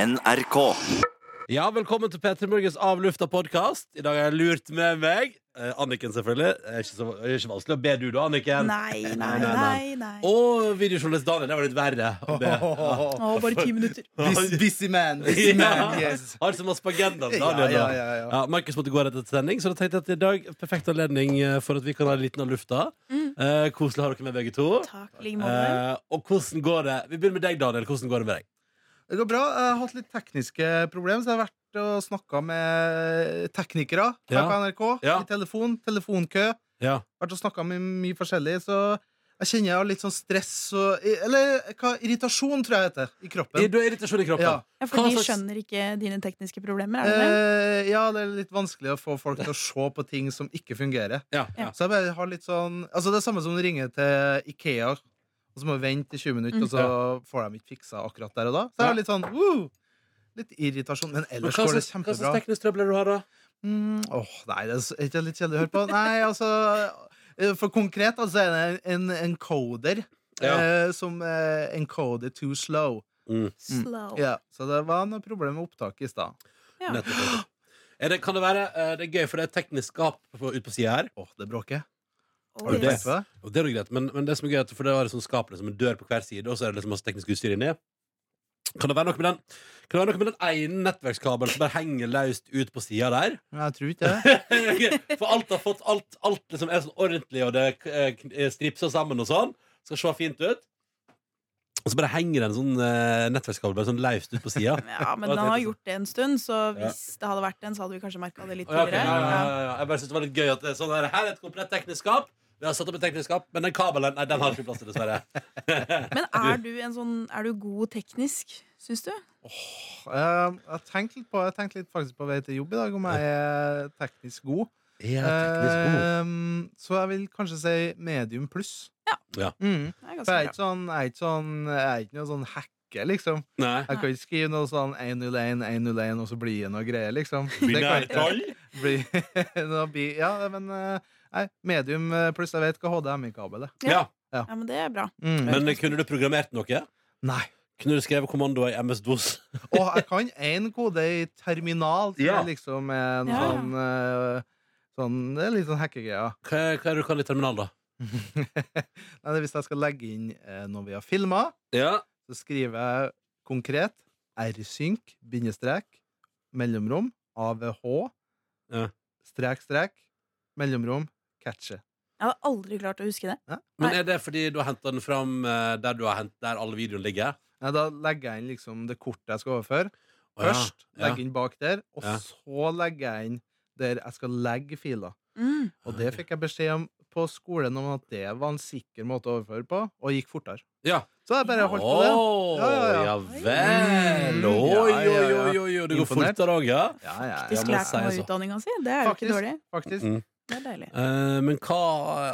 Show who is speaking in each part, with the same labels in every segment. Speaker 1: NRK.
Speaker 2: Ja, velkommen til P3 Morgens avlufta podkast. I dag har jeg lurt med meg eh, Anniken, selvfølgelig. Det er ikke, så, det er ikke vanskelig å be du, da, Anniken.
Speaker 3: Nei,
Speaker 2: Nei,
Speaker 3: nei,
Speaker 2: nei,
Speaker 3: nei. nei.
Speaker 2: Og videojournalist Daniel. Det var litt verre å be.
Speaker 3: Å, bare ti minutter.
Speaker 4: Bus- busy man. Busy man, yes.
Speaker 2: Har det som oss på agendaen,
Speaker 4: Ja,
Speaker 2: Daniel. da.
Speaker 4: ja, ja, ja.
Speaker 2: Ja, Markus måtte gå rett etter sending, så da tenkte jeg at i dag perfekt anledning eh, for at vi kan ha litt av lufta.
Speaker 4: Mm.
Speaker 2: Eh, koselig å ha dere med, begge to.
Speaker 3: Takk, i like måte.
Speaker 2: Eh, og hvordan går det Vi begynner med deg, Daniel. Hvordan går det med deg?
Speaker 4: Det går bra. Jeg har hatt litt tekniske problemer, så jeg har vært og snakka med teknikere her
Speaker 2: Ja.
Speaker 4: på NRK.
Speaker 2: Ja.
Speaker 4: I telefon. Telefonkø.
Speaker 2: Ja.
Speaker 4: Vært og snakka med mye forskjellig, så jeg kjenner jeg har litt sånn stress og Eller hva? Irritasjon, tror jeg det heter. I kroppen.
Speaker 2: Du har irritasjon i kroppen.
Speaker 4: Ja.
Speaker 3: Ja, for
Speaker 2: Hva
Speaker 3: de
Speaker 2: slags-
Speaker 3: skjønner ikke dine tekniske problemer, er det det?
Speaker 4: Eh, ja, det er litt vanskelig å få folk til å se på ting som ikke fungerer.
Speaker 2: Ja, ja.
Speaker 4: Så jeg bare har litt sånn Altså Det er samme som å ringe til Ikea, og så må du vente i 20 minutter,
Speaker 3: Mm.
Speaker 4: og så får de ikke fiksa akkurat der og da. Så jeg har litt sånn uh, Litt irritasjon. Men
Speaker 2: Men
Speaker 4: ellers
Speaker 2: hva
Speaker 4: går
Speaker 2: slags hva
Speaker 4: det
Speaker 2: slags
Speaker 4: kjempebra.
Speaker 2: teknisk trøbbel er det du har da?
Speaker 4: Mm, åh, nei, det er så- ikke litt kjedelig å høre på. Nei, altså eh, For konkret altså, er det en encoder
Speaker 2: Ja.
Speaker 4: eh, som eh, encoder too slow.
Speaker 3: Slow.
Speaker 4: Ja, så det var noe problem med opptaket i stad.
Speaker 3: Ja.
Speaker 2: Nettopp. Er det, kan det være eh, Det er gøy, for det er teknisk skap på, ut på sida her.
Speaker 4: Åh, det bråker.
Speaker 3: Oh,
Speaker 4: Har du
Speaker 2: yes.
Speaker 4: tenkt på det?
Speaker 2: Og det er jo greit, men, men det som er gøy, er at- for det er liksom skapene som en dør på hver side, og så er det liksom masse teknisk utstyr inni. Kan det være noe med den Kan det være noe med den ene nettverkskabelen som bare henger løst ut på sida der?
Speaker 4: Men Jeg tror ikke det.
Speaker 2: For alt har fått Alt, alt liksom er sånn ordentlig, og det eh, kn- eh, stripser sammen og sånn. Skal se fint ut. Og så bare henger det en sånn eh, nettverkskabel bare sånn løst ut på sida.
Speaker 3: Ja, men
Speaker 2: Hva
Speaker 3: han har
Speaker 2: heter det?
Speaker 3: gjort det en stund, så
Speaker 2: Ja.
Speaker 3: hvis det hadde vært en, så hadde vi kanskje merka det litt
Speaker 2: Å, ja, ok.
Speaker 3: tidligere.
Speaker 2: ja, ja,
Speaker 3: Ja.
Speaker 2: ja, ja. Jeg bare synes det var litt gøy at det er sånn her. Her er et komplett teknisk skap. Vi har satt opp et teknisk skap, men den kabelen Nei, den har ikke plass til, dessverre.
Speaker 3: Men er du en sånn Er du god teknisk, syns du?
Speaker 4: Eh, jeg tenkte litt på Jeg tenkte litt faktisk på vei til jobb i dag om jeg er teknisk god. Eh, så jeg vil kanskje si medium pluss.
Speaker 3: Ja.
Speaker 2: Ja.
Speaker 3: Det er
Speaker 4: Mm. For jeg er
Speaker 3: ganske
Speaker 4: ikke sånn Jeg er ikke, sånn, jeg er ikke noe sånn hacker, liksom.
Speaker 2: Nei.
Speaker 4: Jeg kan ikke skrive noe sånn 101, 101, og så blir det noe greier, liksom. Det kan
Speaker 2: Binær
Speaker 4: ikke
Speaker 2: tall?
Speaker 4: bli noe bi Ja, men eh, nei, medium eh, pluss. Jeg vet hva HDMI-kabel er.
Speaker 2: Ja.
Speaker 3: bra. Ja, men det er bra.
Speaker 4: Mm.
Speaker 2: Men kunne du programmert noe?
Speaker 4: Nei.
Speaker 2: Kunne du skrevet kommando i MS-DOS?
Speaker 4: Og jeg kan én kode i terminal, så
Speaker 2: Ja.
Speaker 4: det liksom er en
Speaker 3: Ja.
Speaker 4: sånn, eh, sånn Det er litt sånn hackegreier.
Speaker 2: Hva, er- hva er det du kan i terminal, da?
Speaker 4: Nei, det er hvis jeg skal legge inn eh, når vi har filma,
Speaker 2: Ja.
Speaker 4: så skriver jeg konkret rsynk, bindestrek, mellomrom, avh,
Speaker 2: Ja.
Speaker 4: strek, strek, mellomrom, catche.
Speaker 3: Jeg hadde aldri klart å huske det.
Speaker 2: Men
Speaker 3: Nei.
Speaker 2: er det fordi du har henta den fram eh, der, du har hent, der alle videoene ligger?
Speaker 4: Nei, da legger jeg inn liksom det kortet jeg skal overføre.
Speaker 2: Å, ja.
Speaker 4: Først
Speaker 2: Ja.
Speaker 4: legger jeg inn bak der, og
Speaker 2: Ja.
Speaker 4: så legger jeg inn der jeg skal legge filer.
Speaker 3: Mm.
Speaker 4: Og det fikk jeg beskjed om på skolen om at det var en sikker måte å overføre på, og gikk fortere.
Speaker 2: Ja.
Speaker 4: Så jeg bare holdt på det.
Speaker 2: Å,
Speaker 4: Ja, ja, ja.
Speaker 2: vel.
Speaker 4: Mm.
Speaker 2: Oi,
Speaker 4: Ja,
Speaker 2: oi,
Speaker 4: ja, ja.
Speaker 2: oi, oi, oi. Det går
Speaker 4: Imponert.
Speaker 2: fortere òg, ja?
Speaker 4: Ja, ja,
Speaker 3: De
Speaker 4: ja.
Speaker 2: må
Speaker 3: skulle lært
Speaker 2: si
Speaker 3: noe av
Speaker 2: så.
Speaker 3: utdanning si. Det er jo ikke
Speaker 4: Faktisk.
Speaker 3: dårlig.
Speaker 4: Faktisk.
Speaker 2: Mm.
Speaker 3: Det er deilig.
Speaker 2: Eh, men hva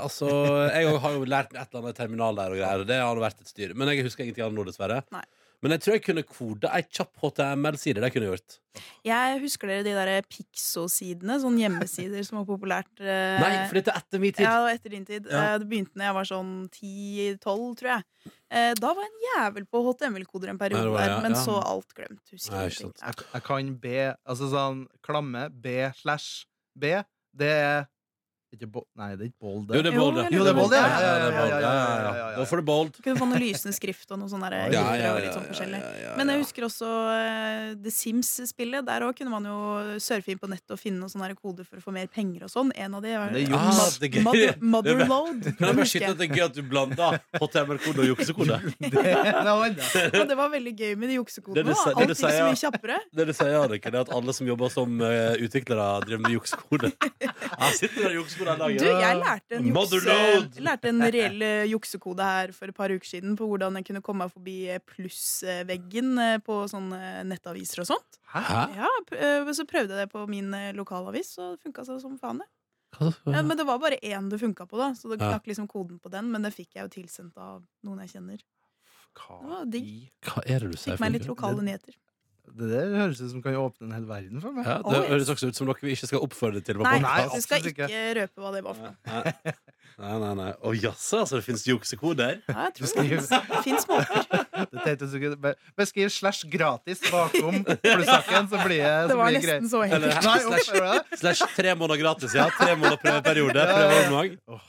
Speaker 2: Altså, jeg òg har jo lært meg et eller annet terminal der og greier. og Det har vært et styr. Men jeg husker ingenting annet nå, dessverre.
Speaker 3: Nei.
Speaker 2: Men jeg tror jeg kunne kode ei kjapp HTML-side. Det kunne jeg gjort.
Speaker 3: Jeg husker dere de der Pixo-sidene, sånne hjemmesider som var populært eh,
Speaker 2: Nei, for dette er etter min tid.
Speaker 3: Ja, det var etter din tid.
Speaker 2: Ja.
Speaker 3: Eh, Det begynte når jeg var sånn 10-12, tror jeg. Eh, Da var jeg en jævel på HTML-koder en periode,
Speaker 2: Ja, det var jeg,
Speaker 3: der, men
Speaker 2: ja.
Speaker 3: så alt glemt. Husker
Speaker 2: Nei,
Speaker 3: ingenting.
Speaker 2: ikke
Speaker 3: Ja.
Speaker 4: Jeg, jeg kan B Altså sånn klamme B slash B Det er ikke bo, Nei, det er ikke bold
Speaker 2: Jo, det er
Speaker 3: Jo,
Speaker 2: bold,
Speaker 3: eller-
Speaker 4: Jo, det er bold, ja.
Speaker 2: Ja, ja, det er bold.
Speaker 4: Ja, ja, ja, ja, ja, ja.
Speaker 2: Da får du bold.
Speaker 3: Du kunne få noe lysende skrift og noe sånn der,
Speaker 4: Ja,
Speaker 3: gifter
Speaker 2: ja,
Speaker 3: og litt sånn
Speaker 2: ja,
Speaker 3: forskjellig.
Speaker 2: ja, ja, ja.
Speaker 3: Men jeg husker også eh, The Sims-spillet. Der òg kunne man jo surfe inn på nettet og finne noen sånne der koder for å få mer penger og sånn. En av de var
Speaker 4: Det er
Speaker 2: Ah,
Speaker 4: juks.
Speaker 2: det er gøy.
Speaker 3: Mother,
Speaker 2: Kan
Speaker 3: Motherload.
Speaker 2: jeg
Speaker 3: det
Speaker 2: bare
Speaker 3: husker
Speaker 2: skyte
Speaker 3: jeg.
Speaker 2: at det er gøy at du blander HTML-kode og juksekode?
Speaker 4: Det er noe annet.
Speaker 3: Og det var veldig gøy med de
Speaker 2: Det
Speaker 3: juksekodene.
Speaker 2: du
Speaker 3: da.
Speaker 2: sa- det
Speaker 3: Alt
Speaker 2: du
Speaker 3: gikk så
Speaker 2: sier-
Speaker 3: mye kjappere.
Speaker 2: Det du sier, Anniken, er at alle som jobber som eh, utviklere, driver med juksekode. Jeg sitter med juksekode hele
Speaker 3: Du,
Speaker 2: dagen.
Speaker 3: jeg lærte en,
Speaker 2: Motherload!
Speaker 3: jukse, lærte en reell eh, juksekode her for et par uker siden på hvordan jeg kunne komme meg forbi eh, plussveggen eh, på sånne nettaviser og sånt.
Speaker 2: Hæ?
Speaker 3: Ja, p- eh, Så prøvde jeg det på min eh, lokalavis, og det funka som faen. det. Ja, men det var bare én det funka på, da, så det
Speaker 2: Ja.
Speaker 3: knakk liksom koden på den. Men det fikk jeg jo tilsendt av noen jeg kjenner. Det
Speaker 4: Hva
Speaker 3: var
Speaker 4: i
Speaker 3: digg.
Speaker 2: Hva er det du sier?
Speaker 3: Fikk meg litt lokale nyheter.
Speaker 4: Det der høres ut som kan åpne en hel verden for meg.
Speaker 2: Ja, det
Speaker 3: Oh, yes.
Speaker 2: høres også ut som noe vi ikke skal oppfordre til. på
Speaker 3: Nei,
Speaker 2: podcast.
Speaker 4: Nei,
Speaker 3: du skal
Speaker 4: absolutt ikke.
Speaker 3: ikke røpe hva det var for noe.
Speaker 2: Nei. Nei, nei, nei. Å jaså, altså det fins juksekoder?
Speaker 3: Ja, jeg tror
Speaker 4: Du
Speaker 3: det.
Speaker 4: skriver
Speaker 3: Fins måter.
Speaker 4: det tenkte jeg skulle- be- Beskriv slash gratis bakom plussaken, så blir det,
Speaker 3: Det
Speaker 4: så
Speaker 3: var
Speaker 4: blir det greit.
Speaker 3: nesten sånn. så
Speaker 2: Eller-
Speaker 3: enkelt.
Speaker 4: Nei, opp, gjør det det?
Speaker 2: Slash tre måneder gratis, ja. Tre måneder prøveperiode. Prøve omgang.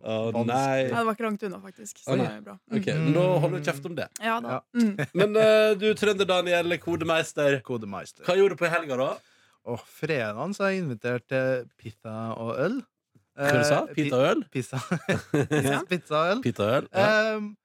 Speaker 2: Å
Speaker 3: Ja,
Speaker 2: nei.
Speaker 3: det var ikke langt unna, faktisk.
Speaker 2: Å,
Speaker 3: Så det
Speaker 2: nei.
Speaker 3: er bra. Mm.
Speaker 2: Ok, men Da holder vi kjeft om det.
Speaker 3: Ja da.
Speaker 4: Ja.
Speaker 3: Mm.
Speaker 2: Men eh, du, trønder-Daniel, kodemeister.
Speaker 4: Kodemeister.
Speaker 2: Hva gjorde du på i helga, da?
Speaker 4: Og fredagen så har jeg invitert til pizza og øl.
Speaker 2: Hva du sa
Speaker 4: Eh,
Speaker 2: du?
Speaker 4: pi-
Speaker 2: Pitaøl?
Speaker 4: Pizza. pizza og øl.
Speaker 2: Pitaøl? Ja.
Speaker 4: Um,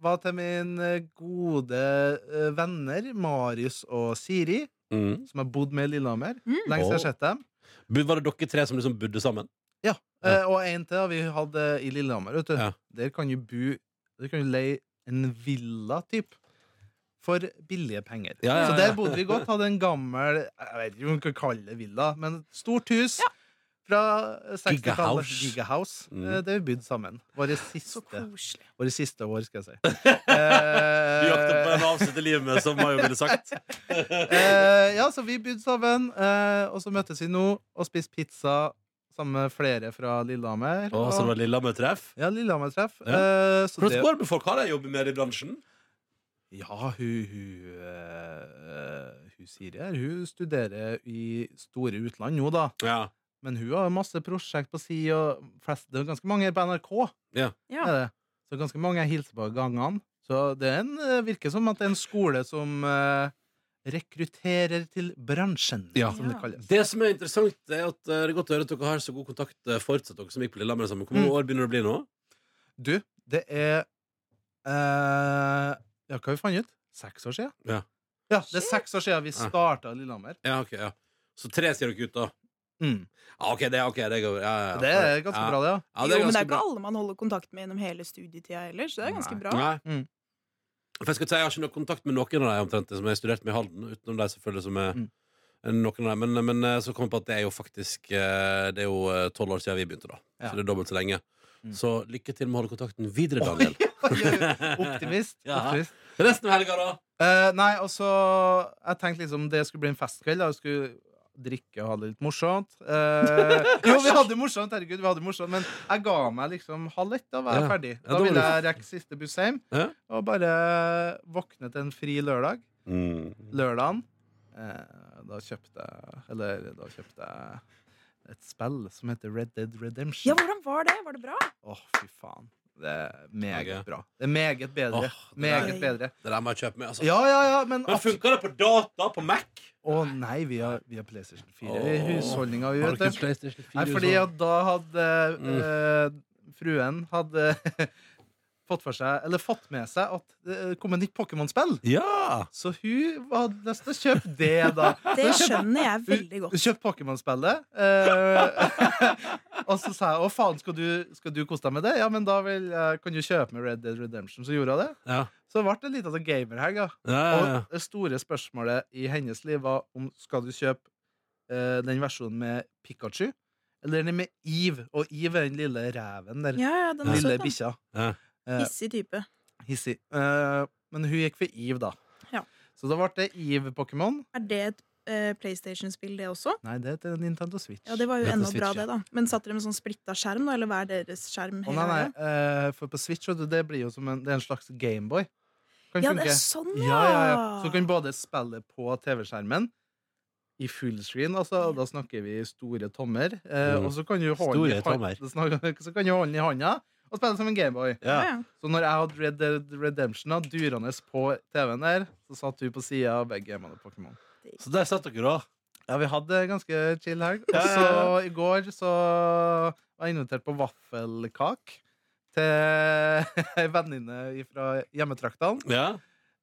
Speaker 4: var til mine gode eh, venner Marius og Siri,
Speaker 2: Mm.
Speaker 4: som har bodd med i Lillehammer.
Speaker 3: Mm.
Speaker 4: Lenge siden jeg har sett dem.
Speaker 2: Bu- Var det dere tre som liksom bodde sammen? Ja.
Speaker 4: Eh, og en til har vi hadde i Lillehammer. Vet du.
Speaker 2: Ja.
Speaker 4: Der kan du bo Der kan du leie en villa, typ. For billige penger.
Speaker 2: Ja, ja,
Speaker 4: Så
Speaker 2: ja.
Speaker 4: der bodde vi godt. Hadde en gammel Jeg vet ikke om man kan kalle det villa, men stort hus. Fra 60-tallet.
Speaker 2: Gigahouse.
Speaker 4: Gigahouse.
Speaker 2: Mm.
Speaker 4: eh, Der vi bodde sammen. Våre
Speaker 3: Så
Speaker 4: siste,
Speaker 3: koselig.
Speaker 4: våre siste år, skal jeg si.
Speaker 2: Du jakter på
Speaker 4: Eh,
Speaker 2: en avslutte livet med, som Mayo ville sagt.
Speaker 4: eh, ja, så vi bodde sammen, eh, og så møttes vi nå og spiste pizza sammen med flere fra Lillehammer.
Speaker 2: Å, så det var Lillehammer-treff?
Speaker 4: Ja, Lillehammer-treff.
Speaker 2: Ja.
Speaker 4: Eh, så
Speaker 2: Hvordan
Speaker 4: det-
Speaker 2: går det med folk? Har de jobbet med det i bransjen?
Speaker 4: Ja, hun Hun, eh, hun Siri her, hun studerer i store utland nå, da.
Speaker 2: Ja.
Speaker 4: Men hun har masse prosjekt på si, og flest, det er ganske mange på NRK.
Speaker 3: Ja.
Speaker 4: Er det. Så ganske mange jeg hilser på gangene. Så det er en, eh, virker som at det er en skole som eh, rekrutterer til bransjen,
Speaker 2: Ja.
Speaker 4: som det
Speaker 3: Ja.
Speaker 4: kalles.
Speaker 2: Det som er interessant, er at eh, det er godt å høre at dere har så god kontakt eh, fortsatt, dere som gikk på Lillehammer sammen. Hvor mange
Speaker 4: Mm.
Speaker 2: år begynner det å bli nå?
Speaker 4: Du, det er eh, Ja, hva har vi funnet ut? Seks år siden?
Speaker 2: Ja.
Speaker 4: Ja, det er seks år siden vi
Speaker 2: Ja.
Speaker 4: starta Lillehammer.
Speaker 2: Ja, ok, ja. Så tre sier dere ut, da.
Speaker 4: Mm.
Speaker 2: Ja, ok, det, ok, det går ja, ja, ja.
Speaker 4: Det er ganske
Speaker 2: ja.
Speaker 4: bra, det, ja.
Speaker 2: Ja,
Speaker 3: jo, men det er
Speaker 2: ganske
Speaker 3: ikke alle man holder kontakt med gjennom hele studietida heller, så det er ganske
Speaker 4: Nei.
Speaker 3: bra.
Speaker 2: Nei.
Speaker 4: Mm.
Speaker 2: For jeg skal si, jeg har ikke noe kontakt med noen av de omtrent som jeg har studert med i Halden, utenom de selvfølgelig som er
Speaker 4: Mm.
Speaker 2: noen av dem. Men, men eh, så kom jeg på at det er jo faktisk eh, Det er jo tolv år siden vi begynte, da.
Speaker 4: Ja.
Speaker 2: Så det er dobbelt så lenge.
Speaker 4: Mm.
Speaker 2: Så lykke til med å holde kontakten videre, Daniel.
Speaker 4: Optimist.
Speaker 2: Ja.
Speaker 4: optimist.
Speaker 2: Resten av helga, da?
Speaker 4: Eh, nei, altså Jeg tenkte liksom det skulle bli en festkveld. Da. Vi skulle drikke og ha det litt morsomt. Eh, jo, vi hadde det morsomt, herregud, vi hadde det morsomt men jeg ga meg liksom halv ett. Da var jeg
Speaker 2: Ja.
Speaker 4: ferdig.
Speaker 2: Ja, da
Speaker 4: Da
Speaker 2: var
Speaker 4: ville
Speaker 2: du-
Speaker 4: jeg rekke siste buss hjem
Speaker 2: Ja.
Speaker 4: og bare våkne til en fri lørdag. Lørdagen eh, da kjøpte jeg Eller da kjøpte jeg et spill som heter Red Dead Redemption.
Speaker 3: Ja, hvordan var det? Var det bra?
Speaker 4: Åh, fy faen. Det er meget
Speaker 2: Ok.
Speaker 4: bra. Det er meget bedre.
Speaker 2: Åh, det
Speaker 4: meget
Speaker 3: der-
Speaker 4: bedre.
Speaker 2: Det der må jeg kjøpe med. Altså.
Speaker 4: Ja, ja, ja, men
Speaker 2: Men funker det på data på Mac?
Speaker 4: Å nei, vi har, vi har PlayStation 4 i
Speaker 2: Åh.
Speaker 4: husholdninga.
Speaker 2: Har du ikke
Speaker 4: Nei,
Speaker 2: PlayStation 4?
Speaker 4: fordi at da hadde
Speaker 2: Mm.
Speaker 4: eh, fruen hadde fått for seg Eller fått med seg at det eh, kom et nytt Pokémon-spill.
Speaker 2: Ja!
Speaker 4: Så hun hadde lyst til å kjøpe det, da.
Speaker 3: Det skjønner jeg veldig
Speaker 4: Hun
Speaker 3: godt.
Speaker 4: kjøpte Pokémon-spillet. eh, og så sa jeg å faen, skal du, skal du kose deg med det? Ja, men da vil, jeg- kan du kjøpe med Red Dead Redemption. Så gjorde hun det.
Speaker 2: Ja,
Speaker 4: Så ble det litt av en sånn gamerhelg. da.
Speaker 2: ja, ja, ja.
Speaker 4: Og det store spørsmålet i hennes liv var om skal du kjøpe eh, den versjonen med Pikachu, eller den med Eve. Og Eve er den lille reven der.
Speaker 3: Ja, ja, den er
Speaker 4: den lille
Speaker 3: søt, den.
Speaker 4: bikkja.
Speaker 2: Ja.
Speaker 4: Eh,
Speaker 3: Hissig type.
Speaker 4: hissig. Eh, men hun gikk for Eve, da.
Speaker 3: Ja.
Speaker 4: Så da ble det Eve-Pokémon.
Speaker 3: Er det et eh, PlayStation-spill, det også?
Speaker 4: Nei, det heter Nintendo Switch.
Speaker 3: Ja, det var jo
Speaker 2: Dette
Speaker 3: enda bra,
Speaker 2: switcher.
Speaker 3: det, da. Men satt dere med sånn splitta skjerm, da? Eller hver deres skjerm?
Speaker 4: Å,
Speaker 3: hele
Speaker 4: nei, nei,
Speaker 3: veien?
Speaker 4: eh, for på Switch vet du, det blir jo som en, det er en slags Gameboy. Kan
Speaker 3: Ja,
Speaker 4: funke.
Speaker 3: det er sånn,
Speaker 4: Ja, ja, ja. Så du kan både spille på TV-skjermen i fullscreen, altså, og da snakker vi store tommer. Eh,
Speaker 2: Mm.
Speaker 4: Og så kan du holde
Speaker 2: Store
Speaker 4: den i hånd-
Speaker 2: tommer.
Speaker 4: så snak- så kan du holde den i hånda og spille som en Gameboy.
Speaker 2: Ja.
Speaker 3: Ja, ja.
Speaker 4: Så når jeg hadde Red Dead Redemption da, durende på TV-en der, så satt du på sida av begge hjemmene på Pokémon.
Speaker 2: Så der satt dere, da.
Speaker 4: Ja, vi hadde ganske chill helg. Og
Speaker 2: Ja, ja,
Speaker 4: så i går så var jeg invitert på vaffelkak til ei venninne fra hjemmetraktene.
Speaker 2: Ja.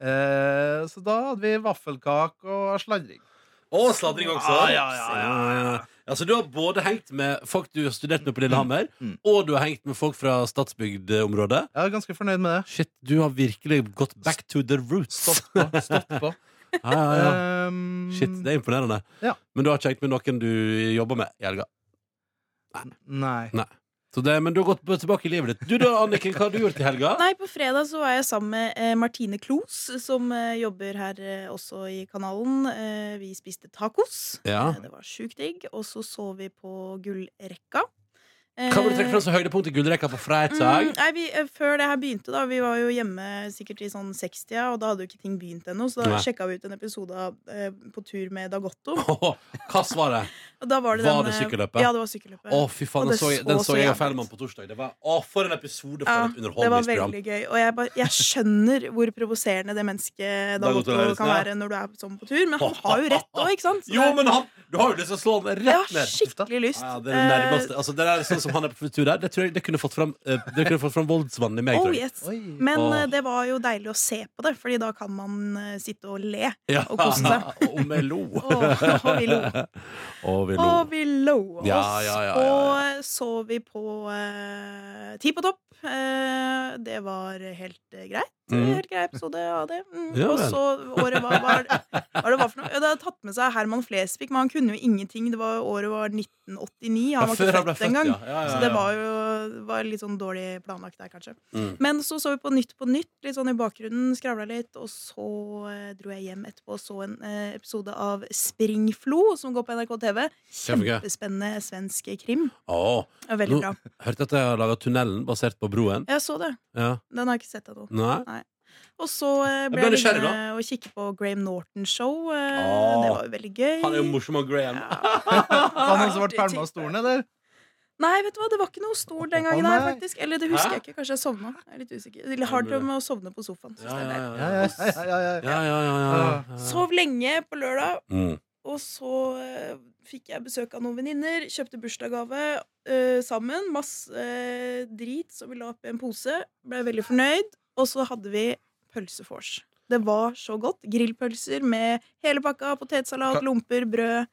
Speaker 4: Eh, så da hadde vi vaffelkake og sladring.
Speaker 2: Og sladring også.
Speaker 4: Ja, ja, ja,
Speaker 2: Ja, så du har både hengt med folk du har studert med på Lillehammer,
Speaker 4: Mm.
Speaker 2: og du har hengt med folk fra Stadsbygd-området.
Speaker 4: Jeg er ganske fornøyd med det.
Speaker 2: Shit, du har virkelig gått back to the roots.
Speaker 4: Stått på. Stått på.
Speaker 2: Ja, ja, ja.
Speaker 4: Um,
Speaker 2: Shit, det er imponerende.
Speaker 4: Ja.
Speaker 2: Men du har ikke hengt med noen du jobber med i helga.
Speaker 4: Nei.
Speaker 2: Så det, men du har gått tilbake i livet ditt. Du da, Anniken, hva har du gjort i helga?
Speaker 3: Nei, på fredag så var jeg sammen med eh, Martine Klos, som eh, jobber her eh, også i kanalen. Eh, vi spiste tacos.
Speaker 2: Ja.
Speaker 3: Eh, Det var sjukt digg. Og så så vi på Gullrekka.
Speaker 2: Kan du trekke fram som høydepunkt i gullrekka på fredag?
Speaker 3: Mm, nei, vi, eh, før det her begynte, da Vi var jo hjemme sikkert i sånn 60-a, og da hadde jo ikke ting begynt ennå. Så da
Speaker 2: Nei.
Speaker 3: sjekka vi ut en episode av, eh, på tur med Dagotto.
Speaker 2: Åh, Hva var det?
Speaker 3: Og da var det,
Speaker 2: Var
Speaker 3: den,
Speaker 2: det
Speaker 3: eh,
Speaker 2: sykkelløpet?
Speaker 3: Ja, det var sykkelløpet.
Speaker 2: Å, fy faen, den
Speaker 3: Og det
Speaker 2: så, jeg-
Speaker 3: så
Speaker 2: den så jeg og
Speaker 3: så jævlig
Speaker 2: Fellman på torsdag. Det var, å, for en episode for et
Speaker 3: Ja, det var
Speaker 2: underholdningsprogram.
Speaker 3: veldig gøy. Og jeg, bare- jeg skjønner hvor provoserende det mennesket
Speaker 2: Dag Otto
Speaker 3: Dagotto
Speaker 2: Lauritzen,
Speaker 3: kan
Speaker 2: ja.
Speaker 3: være når du er sånn på tur, men han har jo rett òg, ikke sant? Så
Speaker 2: Jo,
Speaker 3: det-
Speaker 2: men han, du har jo lyst til å slå den
Speaker 3: jeg har
Speaker 2: rett ned.
Speaker 3: skikkelig lyst.
Speaker 2: Ja, det er
Speaker 3: Eh,
Speaker 2: det nærmeste. Altså, det der, sånn som han er på tur der, det tror jeg det kunne fått fram, eh, det kunne fått fram voldsmannen i
Speaker 3: Eh,
Speaker 2: meg.
Speaker 3: Oh
Speaker 2: tror jeg.
Speaker 3: yes.
Speaker 4: Oi.
Speaker 3: Men
Speaker 2: Åh.
Speaker 3: eh, det var jo deilig å se på det, Fordi da kan man eh, sitte og le.
Speaker 2: Ja.
Speaker 3: og kose seg.
Speaker 2: Om jeg lo.
Speaker 3: Åh, vi lo.
Speaker 2: Å, vi lo.
Speaker 3: Og vi lo oss.
Speaker 2: Ja, ja, ja, ja,
Speaker 3: Og så vi på eh, Ti på topp. Eh, det var helt eh, greit.
Speaker 2: Mm.
Speaker 3: Helt grei episode av det. Mm.
Speaker 2: Ja
Speaker 3: og
Speaker 2: vel.
Speaker 3: så året var, var, var det hva for noe? Ja, det hadde tatt med seg Herman Flesvig, men han kunne jo ingenting. Det var, året var 1989. Han var ikke født engang.
Speaker 2: ja. Ja, ja,
Speaker 3: Så
Speaker 2: ja.
Speaker 3: det var jo var litt sånn dårlig planlagt der, kanskje.
Speaker 2: Mm.
Speaker 3: Men så så vi på Nytt på Nytt, litt sånn i bakgrunnen, skravla litt, og så eh, dro jeg hjem etterpå og så en eh, episode av Springflo, som går på NRK TV.
Speaker 2: Kjempegøy.
Speaker 3: Kjempespennende svensk krim.
Speaker 2: Å,
Speaker 3: Det var Veldig
Speaker 2: Nå-
Speaker 3: bra.
Speaker 2: hørte at jeg har laga tunnelen basert på broen.
Speaker 3: Jeg så det.
Speaker 2: Ja.
Speaker 3: Den har jeg ikke sett ennå.
Speaker 2: Nei?
Speaker 3: Og så eh, ble
Speaker 2: ble
Speaker 3: jeg
Speaker 2: nysgjerrig,
Speaker 3: liggende og kikke på Graham Norton show. eh,
Speaker 2: Åh.
Speaker 3: Det var jo veldig
Speaker 2: Ah.
Speaker 3: gøy. Ah,
Speaker 2: Han er jo morsom og Graham.
Speaker 4: Var det noen som ble pælma av stolen, eller?
Speaker 3: Nei, vet du hva, det var ikke noe stol den gangen
Speaker 4: Å,
Speaker 3: her,
Speaker 4: nei.
Speaker 3: faktisk. Eller det husker
Speaker 2: Hæ?
Speaker 3: jeg ikke. Kanskje jeg sovna. Jeg er litt usikker. Eller har det med å sovne på sofaen. synes
Speaker 2: Ja,
Speaker 3: jeg
Speaker 2: ja,
Speaker 3: det er.
Speaker 4: Ja,
Speaker 2: ja.
Speaker 4: ja, ja, ja, ja.
Speaker 2: Ja, ja, ja, ja, ja. ja.
Speaker 3: Sov lenge på lørdag,
Speaker 2: Mm.
Speaker 3: og så eh, fikk jeg besøk av noen venninner. Kjøpte bursdagsgave eh, sammen. Masse eh, drit som vi la oppi en pose. Ble veldig fornøyd. Og så hadde vi pølsefors. Det var så godt. Grillpølser med hele pakka. Potetsalat,
Speaker 4: Ka-
Speaker 3: lomper, brød,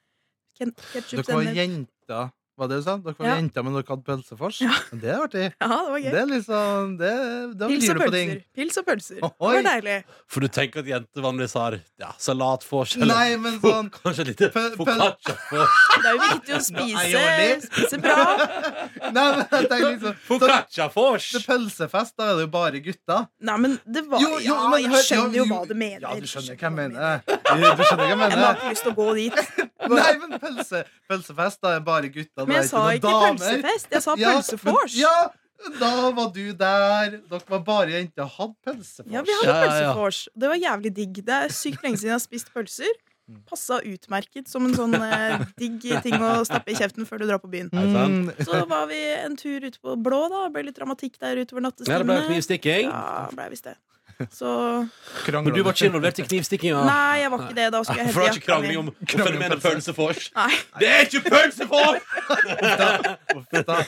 Speaker 3: ketsjup,
Speaker 4: Dere var
Speaker 3: sennep.
Speaker 4: jenter, var det du sa? Dere var
Speaker 3: Ja.
Speaker 4: jenter, men dere hadde pølsefors? Det er artig.
Speaker 3: Ja, det var
Speaker 4: Det
Speaker 3: gøy.
Speaker 4: er liksom Det, da
Speaker 3: Pils
Speaker 4: gir
Speaker 3: og
Speaker 4: du på ting.
Speaker 3: pølser. Pils og pølser. Det
Speaker 4: Ohoi.
Speaker 3: var deilig.
Speaker 2: For du tenker at jenter vanligvis har ja, salatforskjell.
Speaker 4: Nei, men sånn
Speaker 2: Kanskje litt
Speaker 4: Pøl- pøl-
Speaker 2: foccaccia-forskjell.
Speaker 3: Det er jo viktig å
Speaker 4: Nei, jeg gjør
Speaker 3: spise,
Speaker 4: det.
Speaker 3: spise bra.
Speaker 4: Nei, men jeg tenker liksom så,
Speaker 2: Foccaccia-fors!
Speaker 4: det er Pølsefest, da er det jo bare gutter.
Speaker 3: Nei, men det var
Speaker 4: Jo, jo,
Speaker 3: ja,
Speaker 4: men
Speaker 3: Jeg
Speaker 4: hør-
Speaker 3: skjønner jo
Speaker 4: jo,
Speaker 3: hva du mener.
Speaker 4: Ja, du skjønner hva jeg mener. Du du skjønner hva jeg
Speaker 3: Jeg har
Speaker 4: mener.
Speaker 3: ikke lyst til å gå dit.
Speaker 4: Nei, men pølse, pølsefest, da er bare gutter.
Speaker 3: Men jeg sa ikke pølsefest. Jeg sa pølsefors.
Speaker 4: Ja, men- ja, da var du der. Dere var bare jenter. Hadde pølsefors.
Speaker 3: Ja, vi hadde
Speaker 2: Ja, ja, ja.
Speaker 3: pølsefors. Det var jævlig digg. Det er sykt lenge siden jeg har spist pølser. Passa utmerket som en sånn eh, digg ting å stappe i kjeften før du drar på byen.
Speaker 4: Mm,
Speaker 3: Så var vi en tur ute på Blå, da. Det Ble litt dramatikk der utover
Speaker 2: Ja, det ble
Speaker 3: nattestimene.
Speaker 2: knivstikking.
Speaker 3: Ja, ble visst det. Så
Speaker 2: Men du var ikke involvert i knivstikkinga?
Speaker 3: Nei, jeg var ikke det. Da skulle jeg
Speaker 2: Ah. For det var
Speaker 3: hente
Speaker 2: ikke krangling om, om
Speaker 4: Krangling om
Speaker 2: fenomenet
Speaker 4: pølse.
Speaker 2: pølsefors?
Speaker 3: Nei.
Speaker 2: Det er ikke pølsefors!
Speaker 4: Da- Uff, da.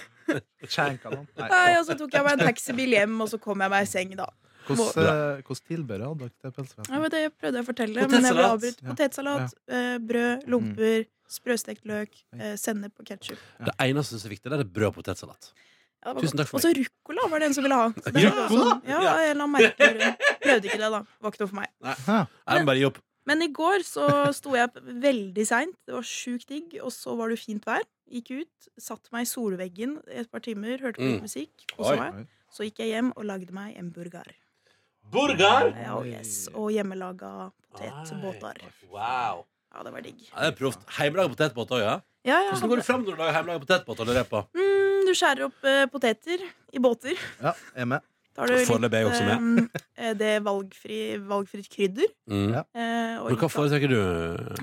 Speaker 4: Skjenka noen. Nei.
Speaker 3: Nei, og så tok jeg meg en taxibil hjem, og så kom jeg meg i seng, da.
Speaker 4: Hvordan eh, hvordan tilbehør hadde dere til
Speaker 3: Ja,
Speaker 4: pølsefest?
Speaker 3: men det prøvde jeg å fortelle. Men jeg ble
Speaker 2: Potetsalat. Mm.
Speaker 3: avbrutt.
Speaker 4: Ja.
Speaker 3: Potetsalat, eh, brød, lomper, sprøstekt løk, eh, sennep og ketsjup.
Speaker 2: Det eneste som er viktig, det er brød og potetsalat.
Speaker 3: Ja, det var
Speaker 2: Tusen
Speaker 3: godt.
Speaker 2: takk for
Speaker 3: og så ruccola var det en som ville ha. Så det var
Speaker 2: Rucola?
Speaker 3: sånn- Ja, en eller annen merkelig grunn. Prøvde ikke det, da. Var ikke noe for meg.
Speaker 2: Nei, men bare gi opp.
Speaker 3: Men i går så sto jeg opp veldig seint. Det var sjukt digg, og så var det jo fint vær. Gikk ut, satte meg i solveggen et par timer, hørte på
Speaker 2: Mm.
Speaker 3: litt musikk.
Speaker 2: Oi.
Speaker 3: Kosa meg. Så gikk jeg hjem og lagde meg en burger.
Speaker 2: Burger!
Speaker 3: Ja, og yes, og hjemmelaga potetbåter.
Speaker 2: Wow.
Speaker 3: Ja, det var digg.
Speaker 2: Ja, det er proft. Heimelaga potetbåter òg, ja?
Speaker 3: Ja, ja.
Speaker 2: Hvordan går det fram når du lager heimelaga potetbåter? lurer jeg på?
Speaker 3: Mm, du skjærer opp eh, poteter i båter.
Speaker 4: Ja, jeg er med.
Speaker 3: Tar du litt
Speaker 2: Foreløpig er jeg også med.
Speaker 3: ehm, eh, det valgfri, valgfritt krydder.
Speaker 2: Mm.
Speaker 4: Ja.
Speaker 3: eh,
Speaker 2: Men
Speaker 3: og
Speaker 2: Hva
Speaker 3: litt av-
Speaker 2: foretrekker du?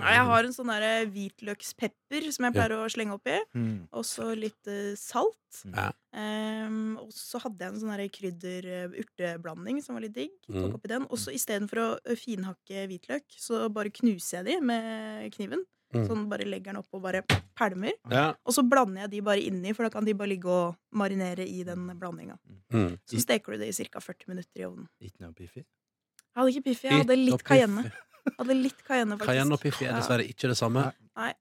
Speaker 3: Nei, jeg har en sånn der hvitløkspepper som jeg
Speaker 2: Ja.
Speaker 3: pleier å slenge oppi.
Speaker 4: Hmm.
Speaker 3: Og så litt eh, salt.
Speaker 2: Ja.
Speaker 3: Ehm, og så hadde jeg en sånn der krydder-urteblanding som var litt digg.
Speaker 2: Mm.
Speaker 3: Tok oppi den. Og så istedenfor å eh, finhakke hvitløk, så bare knuser jeg de med kniven.
Speaker 2: Mm.
Speaker 3: Sånn bare legger den opp og bare pælmer.
Speaker 2: Ja.
Speaker 3: Og så blander jeg de bare inni, for da kan de bare ligge og marinere i den blandinga.
Speaker 2: Mm.
Speaker 3: Så steker du det i ca. 40 minutter i ovnen.
Speaker 4: Ikke noe piffi?
Speaker 3: Jeg hadde ikke piffi, jeg hadde
Speaker 2: Ikke
Speaker 3: litt
Speaker 2: noe
Speaker 3: cayenne. Jeg Hadde litt cayenne, faktisk.
Speaker 2: Cayenne og Piffi er dessverre ikke det samme.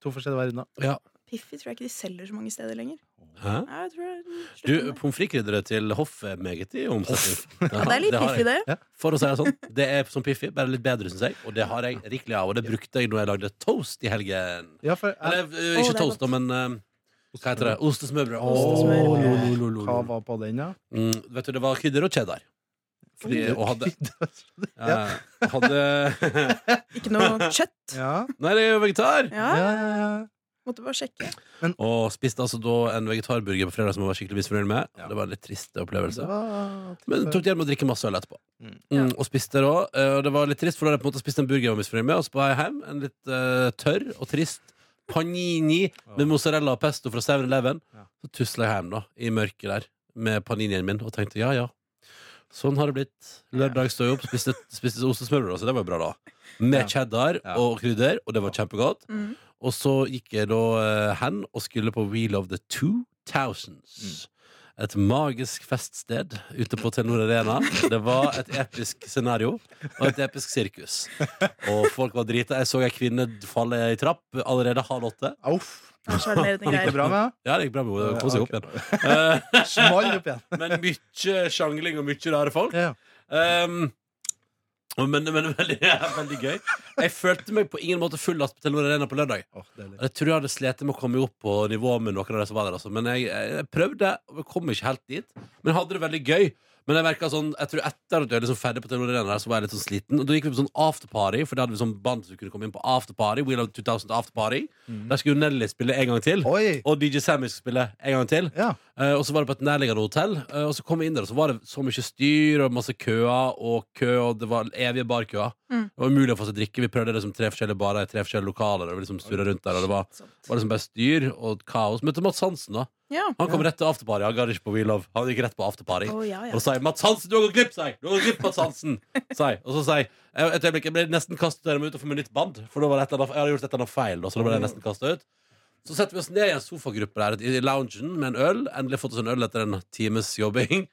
Speaker 4: To forskjellige verdener.
Speaker 2: Ja.
Speaker 3: Piffi tror jeg ikke de selger så mange steder lenger.
Speaker 2: Hæ?
Speaker 3: Nei, jeg tror jeg
Speaker 2: Du,
Speaker 3: slutter med det.
Speaker 2: Pommes frites-krydderet til hoff er meget i omsetning.
Speaker 3: ja, det er litt
Speaker 2: har jeg.
Speaker 3: piffi, det.
Speaker 2: For å si det sånn, det er som Piffi, bare litt bedre, syns jeg. Og det har jeg rikelig av, og det brukte jeg når jeg lagde toast i helgen.
Speaker 4: Ja, for jeg,
Speaker 2: Eller eh, ikke
Speaker 3: det er
Speaker 2: toast, da, men eh, hva heter det? Ostesmørbrød. Åh,
Speaker 3: Ostesmørbrød.
Speaker 2: lo, lo, lo, lo,
Speaker 4: hva
Speaker 2: lo.
Speaker 4: var på den, da?
Speaker 2: Mm, vet du, det var krydder og cheddar. Fordi, og hadde, eh, hadde
Speaker 3: Ikke noe kjøtt.
Speaker 4: Ja,
Speaker 2: Nei, det er jo vegetar!
Speaker 3: Ja.
Speaker 4: ja, ja, ja.
Speaker 3: Måtte bare sjekke.
Speaker 2: Og spiste altså da en vegetarburger på fredag som jeg var skikkelig misfornøyd med.
Speaker 4: Ja.
Speaker 2: Det var en litt trist opplevelse.
Speaker 4: var-
Speaker 2: Men tok det hjem og drikke masse øl etterpå. Mm.
Speaker 4: Mm.
Speaker 2: og spiste da. eh, Og det var litt trist, for da hadde jeg på en måte spist en burger jeg var misfornøyd med, og så på vei hjem en litt eh, tørr og trist panini med mozzarella og pesto fra 7-Eleven.
Speaker 4: Ja.
Speaker 2: Så tusla jeg hjem da, i mørket der med paninien min og tenkte ja, ja. Sånn har det blitt. Lørdag stod jeg opp, spiste, spiste ostesmørbrød, så det var jo bra, da. Med
Speaker 4: Ja.
Speaker 2: cheddar
Speaker 4: Ja.
Speaker 2: og krydder, og det var kjempegodt.
Speaker 3: Mm.
Speaker 2: Og så gikk jeg da eh, hen og skulle på Wheel of the 2000s. Et magisk feststed ute på Telenor Arena. Det var et episk scenario og et episk sirkus. Og folk var drita. Jeg så ei kvinne falle i trapp allerede halv åtte.
Speaker 4: Auff.
Speaker 3: Det er sjarmerende
Speaker 4: Gikk det
Speaker 3: greier.
Speaker 4: bra med
Speaker 2: Ja, det gikk bra med henne. Hun kom seg opp
Speaker 4: Ok.
Speaker 2: igjen. Eh,
Speaker 4: deg? Small opp igjen.
Speaker 2: men mye sjangling og mye rare folk.
Speaker 4: Ja.
Speaker 2: Um, men, men veldig, veldig gøy. Jeg følte meg på ingen måte full last på Telenor Arena på lørdag.
Speaker 4: Åh, deilig.
Speaker 2: Jeg tror jeg hadde slitt med å komme opp på nivå med noen av de som var der. Altså. Men jeg, jeg prøvde, og jeg kom ikke helt dit. Men jeg hadde det veldig gøy. Men jeg merket sånn, jeg tror etter at jeg liksom ferdig på Telenor Arena, der, så var jeg litt sånn sliten. Og da gikk vi på sånn afterparty, for da hadde vi sånn band som kunne komme inn på afterparty. Wheel of 2000 afterparty.
Speaker 4: Mm.
Speaker 2: Der skulle jo Nelly spille en gang til.
Speaker 4: Oi!
Speaker 2: Og DJ Sammy skulle spille en gang til.
Speaker 4: Ja.
Speaker 2: Eh, og så var det på et nærliggende hotell. eh, og så kom vi inn der, og så var det så mye styr og masse køer, og kø, og det var evige barkøer.
Speaker 3: Mm.
Speaker 2: Det var umulig å få seg drikke. Vi prøvde liksom tre forskjellige barer i tre forskjellige lokaler, og vi liksom surret rundt der, og det var,
Speaker 3: Sånt.
Speaker 2: var liksom bare styr og kaos. Møtte Mats Hansen, da.
Speaker 3: Sånn. Ja.
Speaker 2: Han kom rett til afterparty. Han gadd ikke på We Love. Han gikk rett på afterparty.
Speaker 3: Å,
Speaker 2: Og
Speaker 3: ja, ja.
Speaker 2: da sa jeg 'Mats Hansen, du har gått glipp', sa jeg. Du har gått glipp, Mats Hansen sa jeg. Og så sa jeg jeg- et øyeblikk, jeg ble nesten kastet der med ut og få meg nytt band. For da var det et eller annet, jeg hadde gjort et eller annet feil. Da, så da ble jeg nesten kastet ut. Så setter vi oss ned i en sofagruppe der i loungen med en øl. Endelig fått oss en øl etter en times jobbing.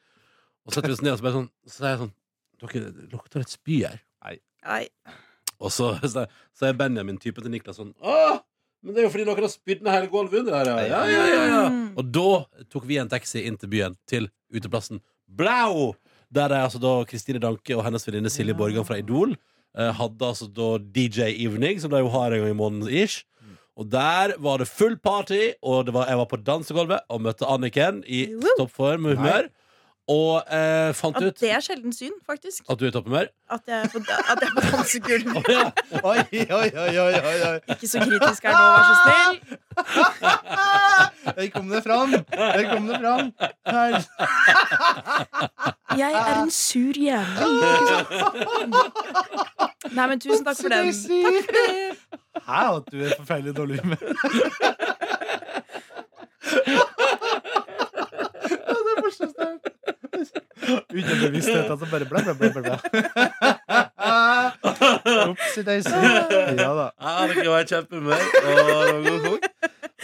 Speaker 2: Og så setter vi oss ned og så bare sånn, så sier jeg sånn Dere det lukter litt spy her.
Speaker 3: Nei.
Speaker 2: Og så, så, så er Benjamin typen til Niklas sånn Åh, men det er jo fordi noen har spydd ned hele gulvet under her, ja. Ja, ja, ja, ja.
Speaker 3: Mm.
Speaker 2: Og da tok vi en taxi inn til byen, til uteplassen Blau! Der er altså da Kristine Danke og hennes venninne Silje
Speaker 4: Ja.
Speaker 2: Borgan fra Idol eh, hadde altså da DJ Evening, som de jo har en gang i måneden ish.
Speaker 3: Mm.
Speaker 2: Og der var det full party, og det var, jeg var på dansegulvet og møtte Anniken i
Speaker 3: Woo!
Speaker 2: toppform og humør. Og eh, fant
Speaker 3: At
Speaker 2: ut
Speaker 3: det er sjelden syn, faktisk.
Speaker 2: at du er i topphumør.
Speaker 3: At jeg er på, at jeg er på dansegulv.
Speaker 2: Oh, ja.
Speaker 4: Oi, oi, oi, oi, oi, oi.
Speaker 3: Ikke så kritisk her nå, vær så snill.
Speaker 4: Der kom det fram! Der kom det fram. Her.
Speaker 3: Jeg er en sur jævel. Ikke sant? Nei, men tusen takk for den.
Speaker 4: Takk for det. Hæ, at du er forferdelig dårlig humør. Ja, det er morsomste. Uten bevissthet, altså bare bla, bla, bla, bla, bla. Opsi daisy. Ja da.
Speaker 2: Ja, det var i kjempehumør. Og det var god kok.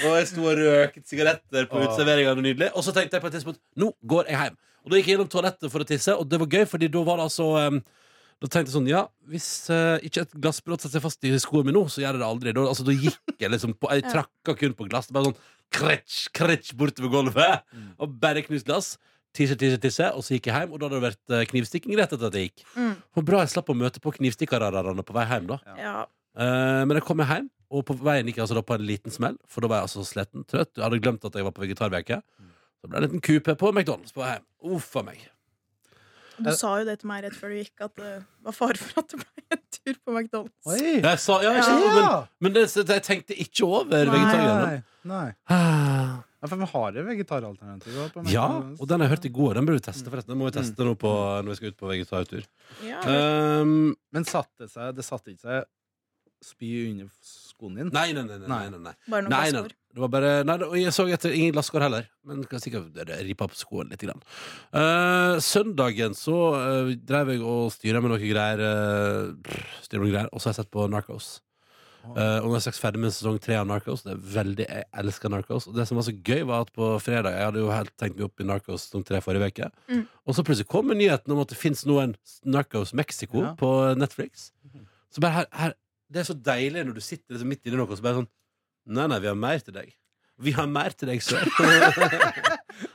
Speaker 2: Og jeg sto og røket sigaretter på
Speaker 4: Åh.
Speaker 2: uteserveringene. Nydelig. Og så tenkte jeg på et tidspunkt nå går jeg hjem. Og da gikk jeg gjennom toalettet for å tisse, og det var gøy, fordi da var det altså em, da tenkte jeg sånn, ja, Hvis eh, ikke et glassbrått setter seg fast i skoene mine nå, så gjør jeg det aldri. Da, altså, da gikk jeg liksom på, Jeg
Speaker 3: Ja.
Speaker 2: trakka kun på glass. Bare sånn kretsj, kretsj bortover gulvet.
Speaker 4: Mm.
Speaker 2: Og bare knust glass. Tisse, tisse, tisse. Og så gikk jeg hjem, og da hadde det vært eh, knivstikking rett etter at jeg gikk.
Speaker 3: Mm,
Speaker 2: Og bra jeg slapp å møte på knivstikkarararene på vei hjem, da.
Speaker 3: ja.
Speaker 2: Eh, men jeg kom meg hjem, og på veien gikk jeg altså da på en liten smell. For da var jeg altså så sliten, trøtt. Jeg hadde glemt at jeg var på vegetarveke. Så ble det en liten kupe på McDonald's på vei hjem. Uff a meg.
Speaker 3: Du sa jo det til meg rett før du gikk, at det var fare for at det ble en tur på McDonald's.
Speaker 4: Oi.
Speaker 2: Jeg sa, ja, ikke, sant, Men,
Speaker 4: Ja.
Speaker 2: men det, så jeg tenkte ikke over vegetargreiene. Ah,
Speaker 4: Nei, nei. Ja, for vi har et vegetaralternativ. da, på
Speaker 2: Ja,
Speaker 4: McDonald's.
Speaker 2: og den jeg hørte i går, den burde vi teste, forresten. Den må vi teste nå på, når vi skal ut på vegetartur.
Speaker 3: Ja.
Speaker 2: Um,
Speaker 4: Men satte seg, det satte ikke seg spy under skoen din?
Speaker 2: nei, nei, nei. nei, nei, nei.
Speaker 3: Bare noen
Speaker 2: Nei, nei,
Speaker 3: glassord.
Speaker 2: det var bare, nei, det- og jeg så etter ingen glasskår heller. Men kan sikkert eh, ripa på skoen litt. Grann. Eh, søndagen så eh, drev jeg og styra med noe greier, eh, prr, styret med noe greier. Og så har jeg sett på Narcos. Eh, og nå er jeg straks ferdig med sesong tre av Narcos. Det er veldig, Jeg elsker Narcos. Og det som var så gøy, var at på fredag Jeg hadde jo helt tenkt meg opp i Narcos sesong tre forrige uke.
Speaker 3: Mm.
Speaker 2: Og så plutselig kom nyheten om at det fins nå en Narcos Mexico
Speaker 4: Ja.
Speaker 2: på Netflix. Så bare her, her Det er så deilig når du sitter liksom midt inni noe, og så bare sånn Nei, nei, vi har mer til deg. Vi har mer til deg, sør.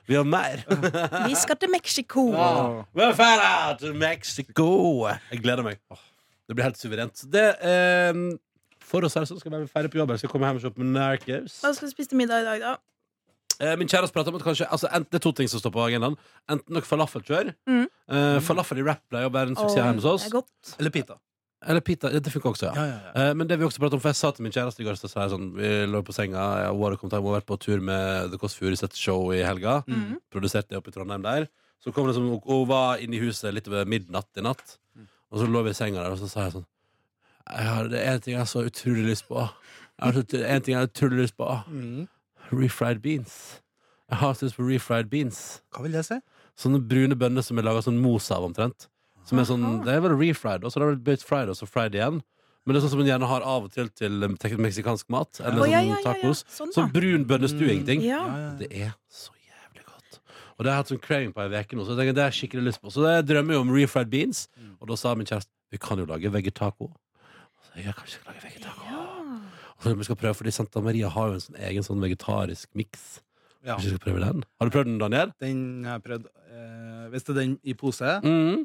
Speaker 2: vi har mer.
Speaker 3: Vi skal til Mexico!
Speaker 2: Ja. Vi er ferdig til Mexico. Jeg gleder meg. Åh, Det blir helt suverent. Det, eh, for oss her så skal vi være ferdig på jobb. Jeg skal komme hjem og se på Narcos.
Speaker 3: Hva skal vi spise til middag i dag, da?
Speaker 2: Eh, min kjæreste prater om at kanskje altså, enten, Det er to ting som står på agendaen. Enten noe falafelkjør.
Speaker 3: Mm.
Speaker 2: Eh, falafel i wrap pleier å være en suksess
Speaker 3: Åh,
Speaker 2: hjemme hos oss.
Speaker 3: det er godt.
Speaker 4: Eller pita.
Speaker 2: Eller pita. Det funker også, ja. Eh, Men det vi også pratet om, for jeg sa til min kjæreste i går så sa jeg sånn, Vi lå på senga, jeg og Wara kom hjem og vært på tur med The Kåss Furuseths show i helga.
Speaker 3: Mhm.
Speaker 2: Produserte det oppe i Trondheim der. Så kom det som, og hun var inne i huset litt over midnatt i natt. Og så lå vi i senga der, og så sa jeg sånn jeg har, Det er en ting jeg har så utrolig lyst på. Jeg har så ut- en ting jeg har utrolig lyst på. Refried beans. Jeg har så lyst på refried beans.
Speaker 4: Hva vil det si?
Speaker 2: Sånne brune bønner som er laga sånn mos av, omtrent. Som er sånn,
Speaker 3: Aha.
Speaker 2: Det er vel refried, og så er det vel bøyd fried, og så fried igjen. Men det er sånn som man gjerne har av og til til um, tek- meksikansk mat. Eller
Speaker 3: Å,
Speaker 2: sånn
Speaker 3: ja, ja, ja, ja.
Speaker 2: tacos.
Speaker 3: Sånn,
Speaker 2: Sånn
Speaker 3: ja.
Speaker 2: brun bønnestuing-ting.
Speaker 3: Ja.
Speaker 2: Det er så jævlig godt. Og det har jeg hatt sånn craving på ei uke nå, så jeg tenker, det har jeg skikkelig lyst på. Så jeg drømmer jo om refried beans, og da sa min kjæreste vi kan jo lage vegetaco. Og så jeg, jeg kan ikke lage vegetaco.
Speaker 3: Ja.
Speaker 2: Og så vi skal prøve, fordi Santa Maria har jo en sånn egen sånn vegetarisk miks.
Speaker 4: Ja.
Speaker 2: Kanskje vi skal prøve den? Har du prøvd den, Daniel?
Speaker 4: Den har jeg prøvd eh, Hvis det er den i pose
Speaker 2: Mm.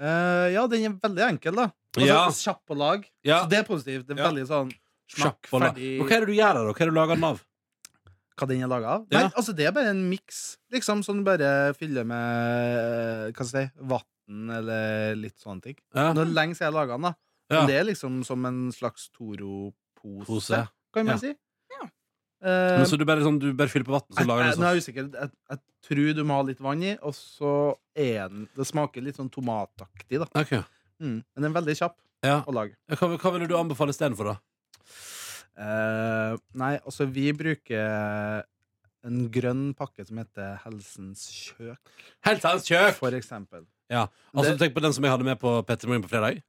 Speaker 4: eh, Ja, den er veldig enkel, da. Altså,
Speaker 2: Ja.
Speaker 4: Kjapp på lag.
Speaker 2: Ja.
Speaker 4: Så det er positivt. Det er
Speaker 2: Ja.
Speaker 4: veldig sånn
Speaker 2: Kjapp
Speaker 4: smakk,
Speaker 2: og la-
Speaker 4: ferdig
Speaker 2: Og Hva er det du gjør der, da? Hva er det du lager den av?
Speaker 4: Hva den er laget av?
Speaker 2: Ja.
Speaker 4: Nei, altså, det er bare en miks. Liksom, som bare fyller med eh, Hva skal jeg si Vann eller litt sånne ting.
Speaker 2: Ja.
Speaker 4: Nå er det lenge siden jeg laga den, da.
Speaker 2: Ja.
Speaker 4: Men det er liksom som en slags Toro-pose,
Speaker 2: Pose.
Speaker 4: kan man
Speaker 2: Ja.
Speaker 4: si.
Speaker 3: Ja.
Speaker 4: Eh,
Speaker 2: Men så du bare, sånn, du bare fyller på vann, så
Speaker 4: jeg,
Speaker 2: lager du
Speaker 4: jeg, nå er
Speaker 2: sånn.
Speaker 4: jeg usikker. Jeg, jeg tror du må ha litt vann i, og så er den Det smaker litt sånn tomataktig, da.
Speaker 2: sånn? Ok.
Speaker 4: Mm. Men den er veldig kjapp
Speaker 2: Ja.
Speaker 4: å lage.
Speaker 2: Hva, hva ville du anbefale istedenfor, da?
Speaker 4: Eh, nei, altså, vi bruker en grønn pakke som heter Helsens kjøk,
Speaker 2: Helt hans kjøk!
Speaker 4: for eksempel.
Speaker 2: Altså,
Speaker 4: Det-
Speaker 2: tenk på den som jeg hadde med på Petter Morin på fredag.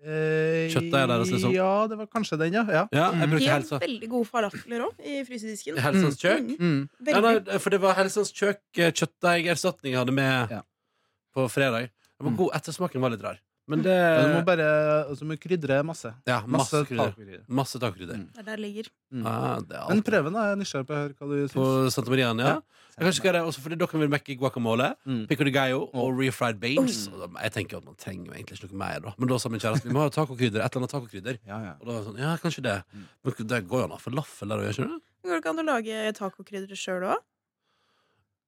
Speaker 4: Eh,
Speaker 2: Kjøttet er deres, liksom.
Speaker 4: Ja, det var kanskje den, ja. ja.
Speaker 2: Ja, jeg
Speaker 4: Mm.
Speaker 2: brukte
Speaker 3: Helt
Speaker 2: helsa.
Speaker 3: veldig gode falafler òg, i frysedisken.
Speaker 2: Helsens kjøk?
Speaker 3: Mm,
Speaker 4: Mm.
Speaker 2: Ja,
Speaker 3: Veldig.
Speaker 2: nei, for det var Helsens kjøk eh, kjøttdeigerstatning jeg hadde med
Speaker 4: Ja.
Speaker 2: på fredag. Det var
Speaker 4: Mm.
Speaker 2: god, ettersmaken var litt rar. Men det
Speaker 4: Men du må bare altså, du må krydre masse.
Speaker 2: Ja, Eh, masse
Speaker 4: Masse
Speaker 2: krydder.
Speaker 4: tacokrydder.
Speaker 2: Masse takkrydder.
Speaker 4: Mm.
Speaker 3: Det er der det ligger.
Speaker 4: Mm.
Speaker 2: Ja, det er
Speaker 4: Men
Speaker 2: alt.
Speaker 4: prøv den, da. Jeg er nysgjerrig på å høre hva du syns.
Speaker 2: På Santa Maria, ja.
Speaker 4: Ja.
Speaker 2: Jeg kan ikke gjøre det, også fordi dere vil mekke guacamole.
Speaker 4: Mm.
Speaker 2: Pico de gallo og refried beans. Og da- Jeg tenker jo at Man trenger jo egentlig ikke noe mer. da Men da sa min kjæreste vi må ha tacokrydder. Et eller annet tacokrydder.
Speaker 4: Ja, ja.
Speaker 2: Og da var jeg sånn, ja, kanskje det.
Speaker 4: Mm.
Speaker 2: Men det går jo an å ha falafel der òg, gjør ikke det?
Speaker 3: Går det ikke an å lage tacokrydder sjøl òg?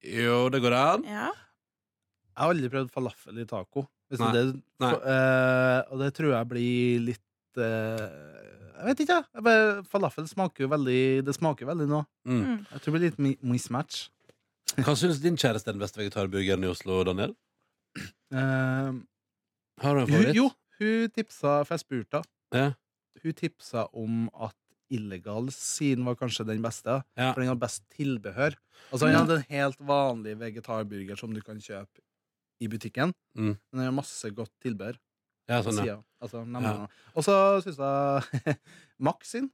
Speaker 2: Jo, det går an.
Speaker 3: Ja.
Speaker 4: Jeg har aldri prøvd falafel i taco. Hvis det er det, du-
Speaker 2: Nei.
Speaker 4: for- eh, og det tror jeg blir litt eh, Jeg vet ikke, jeg. jeg. Bare, falafel smaker jo veldig Det smaker veldig nå.
Speaker 2: Mm.
Speaker 3: Mm.
Speaker 4: Jeg tror det blir litt mi- mismatch.
Speaker 2: Hva syns din kjæreste er den beste vegetarburgeren i Oslo, Daniel?
Speaker 4: Eh,
Speaker 2: Har du en
Speaker 4: hun,
Speaker 2: favoritt?
Speaker 4: jo, hun tipsa For jeg spurte henne.
Speaker 2: Ja.
Speaker 4: Hun tipsa om at Illegal sin var kanskje den beste,
Speaker 2: Ja. Mm.
Speaker 4: for den hadde best tilbehør. Altså Han hadde en helt vanlig vegetarburger som du kan kjøpe i butikken,
Speaker 2: Mm.
Speaker 4: men den har masse godt tilbehør.
Speaker 2: Ja, sånn, ja.
Speaker 4: sida. Altså, nam,
Speaker 2: Ja.
Speaker 4: nam, nam. Og så syns jeg Max sin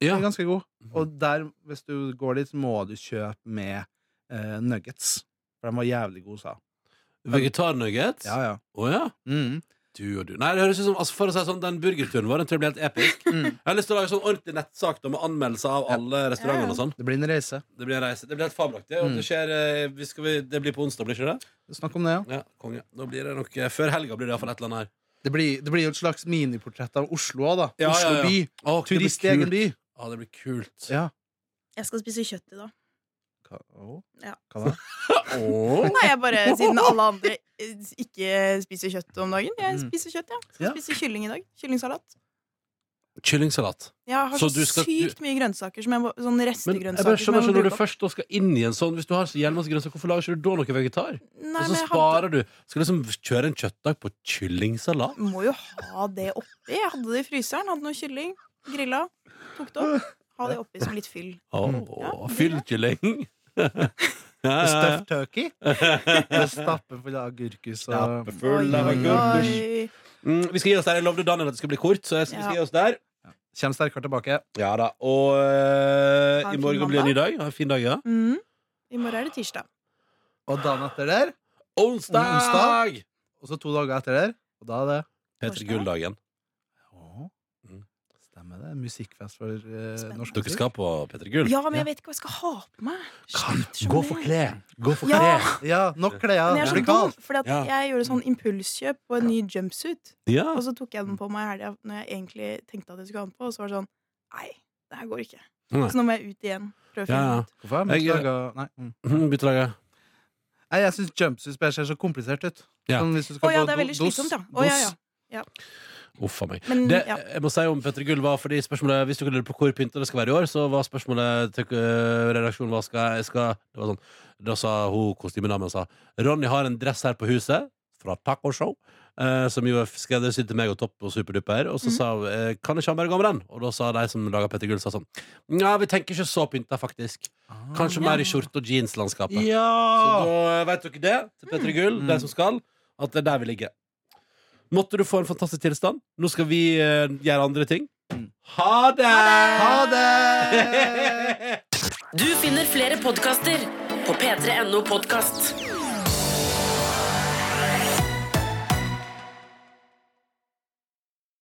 Speaker 2: Ja.
Speaker 4: er ganske god. Og der, hvis du går dit, så må du kjøpe med eh, nuggets. For de var jævlig gode, sa jeg.
Speaker 2: Vegetarnuggets?
Speaker 4: Ja, ja.
Speaker 2: Å ja.
Speaker 4: Mm.
Speaker 2: Du og du. Nei, det høres ut som altså, For å si det sånn, den burgerturen vår den tror jeg blir helt episk.
Speaker 4: Mm.
Speaker 2: Jeg har lyst til å lage sånn ordentlig nettsak da, med anmeldelser av
Speaker 4: Ja.
Speaker 2: alle restaurantene og sånn.
Speaker 4: Det blir en reise.
Speaker 2: Det blir en reise. Det blir helt fabelaktig. Og
Speaker 4: Mm.
Speaker 2: det skjer eh, vi skal vi, Det blir på onsdag, blir ikke det?
Speaker 4: Snakk om det, ja.
Speaker 2: Ja, konge. Da blir det nok eh, Før helga blir det iallfall et eller annet her.
Speaker 4: Det blir, det blir jo et slags miniportrett av Oslo òg, da.
Speaker 2: Ja,
Speaker 4: Oslo
Speaker 2: ja, ja.
Speaker 4: by.
Speaker 2: Å, det blir
Speaker 4: Turist i egen
Speaker 2: kult.
Speaker 4: by.
Speaker 2: Ja, det blir kult.
Speaker 4: Ja.
Speaker 3: Jeg skal spise kjøtt i dag.
Speaker 4: Hva, å?
Speaker 3: Ja.
Speaker 4: Hva da?
Speaker 2: Å.
Speaker 3: Nei, jeg bare, siden alle andre eh, ikke spiser kjøtt om dagen. Jeg
Speaker 4: Mm.
Speaker 3: spiser kjøtt, ja. Skal
Speaker 4: Ja.
Speaker 3: spise kylling i dag. Kyllingsalat.
Speaker 2: Kyllingsalat.
Speaker 3: Jeg har
Speaker 2: Så
Speaker 3: så,
Speaker 2: du skal-
Speaker 3: sykt mye grønnsaker, som jeg, må- sånn
Speaker 2: Men jeg bare
Speaker 3: restegrønnsaker. som
Speaker 2: skjønner
Speaker 3: jeg
Speaker 2: ikke når
Speaker 3: må
Speaker 2: du
Speaker 3: bruke opp.
Speaker 2: først da skal inn i en sånn Hvis du har så jævlig masse grønnsaker, hvorfor lager ikke du da noe vegetar?
Speaker 3: Nei,
Speaker 2: og
Speaker 3: men
Speaker 2: så
Speaker 3: jeg hadde,
Speaker 2: sparer du. Skal liksom kjøre en kjøttdag på kyllingsalat?
Speaker 3: må jo ha det oppi. Jeg hadde det i fryseren. Hadde noe kylling. Grilla. Tok det opp. Ha det oppi som litt fyll.
Speaker 2: Åh,
Speaker 3: Mm. Ja,
Speaker 2: Fyllkylling! ja,
Speaker 4: Det er
Speaker 2: ja, ja.
Speaker 4: Stuffed turkey? Det er Stappe full av agurkus og
Speaker 2: Stappe full av
Speaker 3: Oi, oi,
Speaker 2: agurkus.
Speaker 3: oi.
Speaker 2: Mm, vi skal gi oss der. Jeg lovde Daniel at det skulle bli kort, så jeg skal, vi skal
Speaker 3: Ja.
Speaker 2: gi oss der.
Speaker 4: Kjem sterkere tilbake.
Speaker 2: Ja da, Og eh,
Speaker 3: Ha
Speaker 2: i
Speaker 3: en
Speaker 2: morgen
Speaker 3: fin
Speaker 2: blir det en ny dag. Ha en fin dag, ja.
Speaker 3: Mm. I morgen er det tirsdag.
Speaker 4: Og dagen etter der
Speaker 2: Onsdag!
Speaker 4: Onsdag. Og så to dager etter der Og da er det
Speaker 2: Peter Gull-dagen.
Speaker 4: Åh.
Speaker 2: Mm.
Speaker 4: Stemmer det, musikkfest for eh,
Speaker 3: Spennende.
Speaker 4: norsk
Speaker 2: Dere skal på Peter Gull?
Speaker 3: Ja, men
Speaker 4: Ja.
Speaker 3: jeg vet ikke hva jeg skal ha på meg. Sliter så
Speaker 2: Gå
Speaker 3: med
Speaker 2: for
Speaker 3: det.
Speaker 2: klær! Gå for
Speaker 3: Ja.
Speaker 2: klær!
Speaker 4: Ja, nok klær
Speaker 3: Men jeg er så
Speaker 4: Blikk
Speaker 3: dum,
Speaker 4: av.
Speaker 3: for at
Speaker 2: Ja.
Speaker 3: jeg gjorde sånn impulskjøp på en ny jumpsuit.
Speaker 2: Ja.
Speaker 3: Og så tok jeg den på meg i helga når jeg egentlig tenkte at jeg skulle ha den på, og så var det sånn Nei, det her går ikke.
Speaker 2: Nei.
Speaker 3: Så nå må jeg ut igjen. Prøve å finne
Speaker 2: Ja, ja.
Speaker 3: ut.
Speaker 4: Hvorfor har jeg
Speaker 2: Jeg, eh,
Speaker 4: laget- Nei, mm.
Speaker 2: Mm, Bytte lag, ja.
Speaker 4: Nei, jeg synes jumpsuits bare ser så komplisert ut
Speaker 2: Ja.
Speaker 4: Sånn hvis du skal
Speaker 3: Å ja,
Speaker 4: på
Speaker 3: det er veldig
Speaker 4: do- dos-
Speaker 3: slitsomt, ja. Å, ja, ja.
Speaker 4: dos.
Speaker 2: Uff a meg.
Speaker 3: Men,
Speaker 2: Det
Speaker 3: Mm, ja.
Speaker 2: jeg må si om Petter Gull var fordi spørsmålet Hvis du kunne lure på hvor pynta det skal være i år, så var spørsmålet til øh, redaksjonen hva skal, jeg skal Det var sånn Da sa hun kostymedamen sa Ronny har en dress her på huset fra Tacoshow. Uh, som jo er skreddersydd til meg og Topp og Superduper. Og så
Speaker 3: Mhm.
Speaker 2: sa hun eh, Kan ikke han bare gå med den? Og da sa de som laga Petter Gull, sa sånn Nja, vi tenker ikke så pynta, faktisk. Kanskje
Speaker 3: Ah,
Speaker 2: mer i skjorte- og jeanslandskapet. Så
Speaker 4: Ah. Ja!
Speaker 2: da vet dere det, til Petter Gull,
Speaker 4: Ah. Mm.
Speaker 2: de som skal, at det er der vi ligger. Måtte du få en fantastisk tilstand. Nå skal vi eh, gjøre andre ting.
Speaker 4: Mm.
Speaker 2: Ha det!
Speaker 4: Ha det!
Speaker 1: Du finner flere podkaster på p3.no podkast.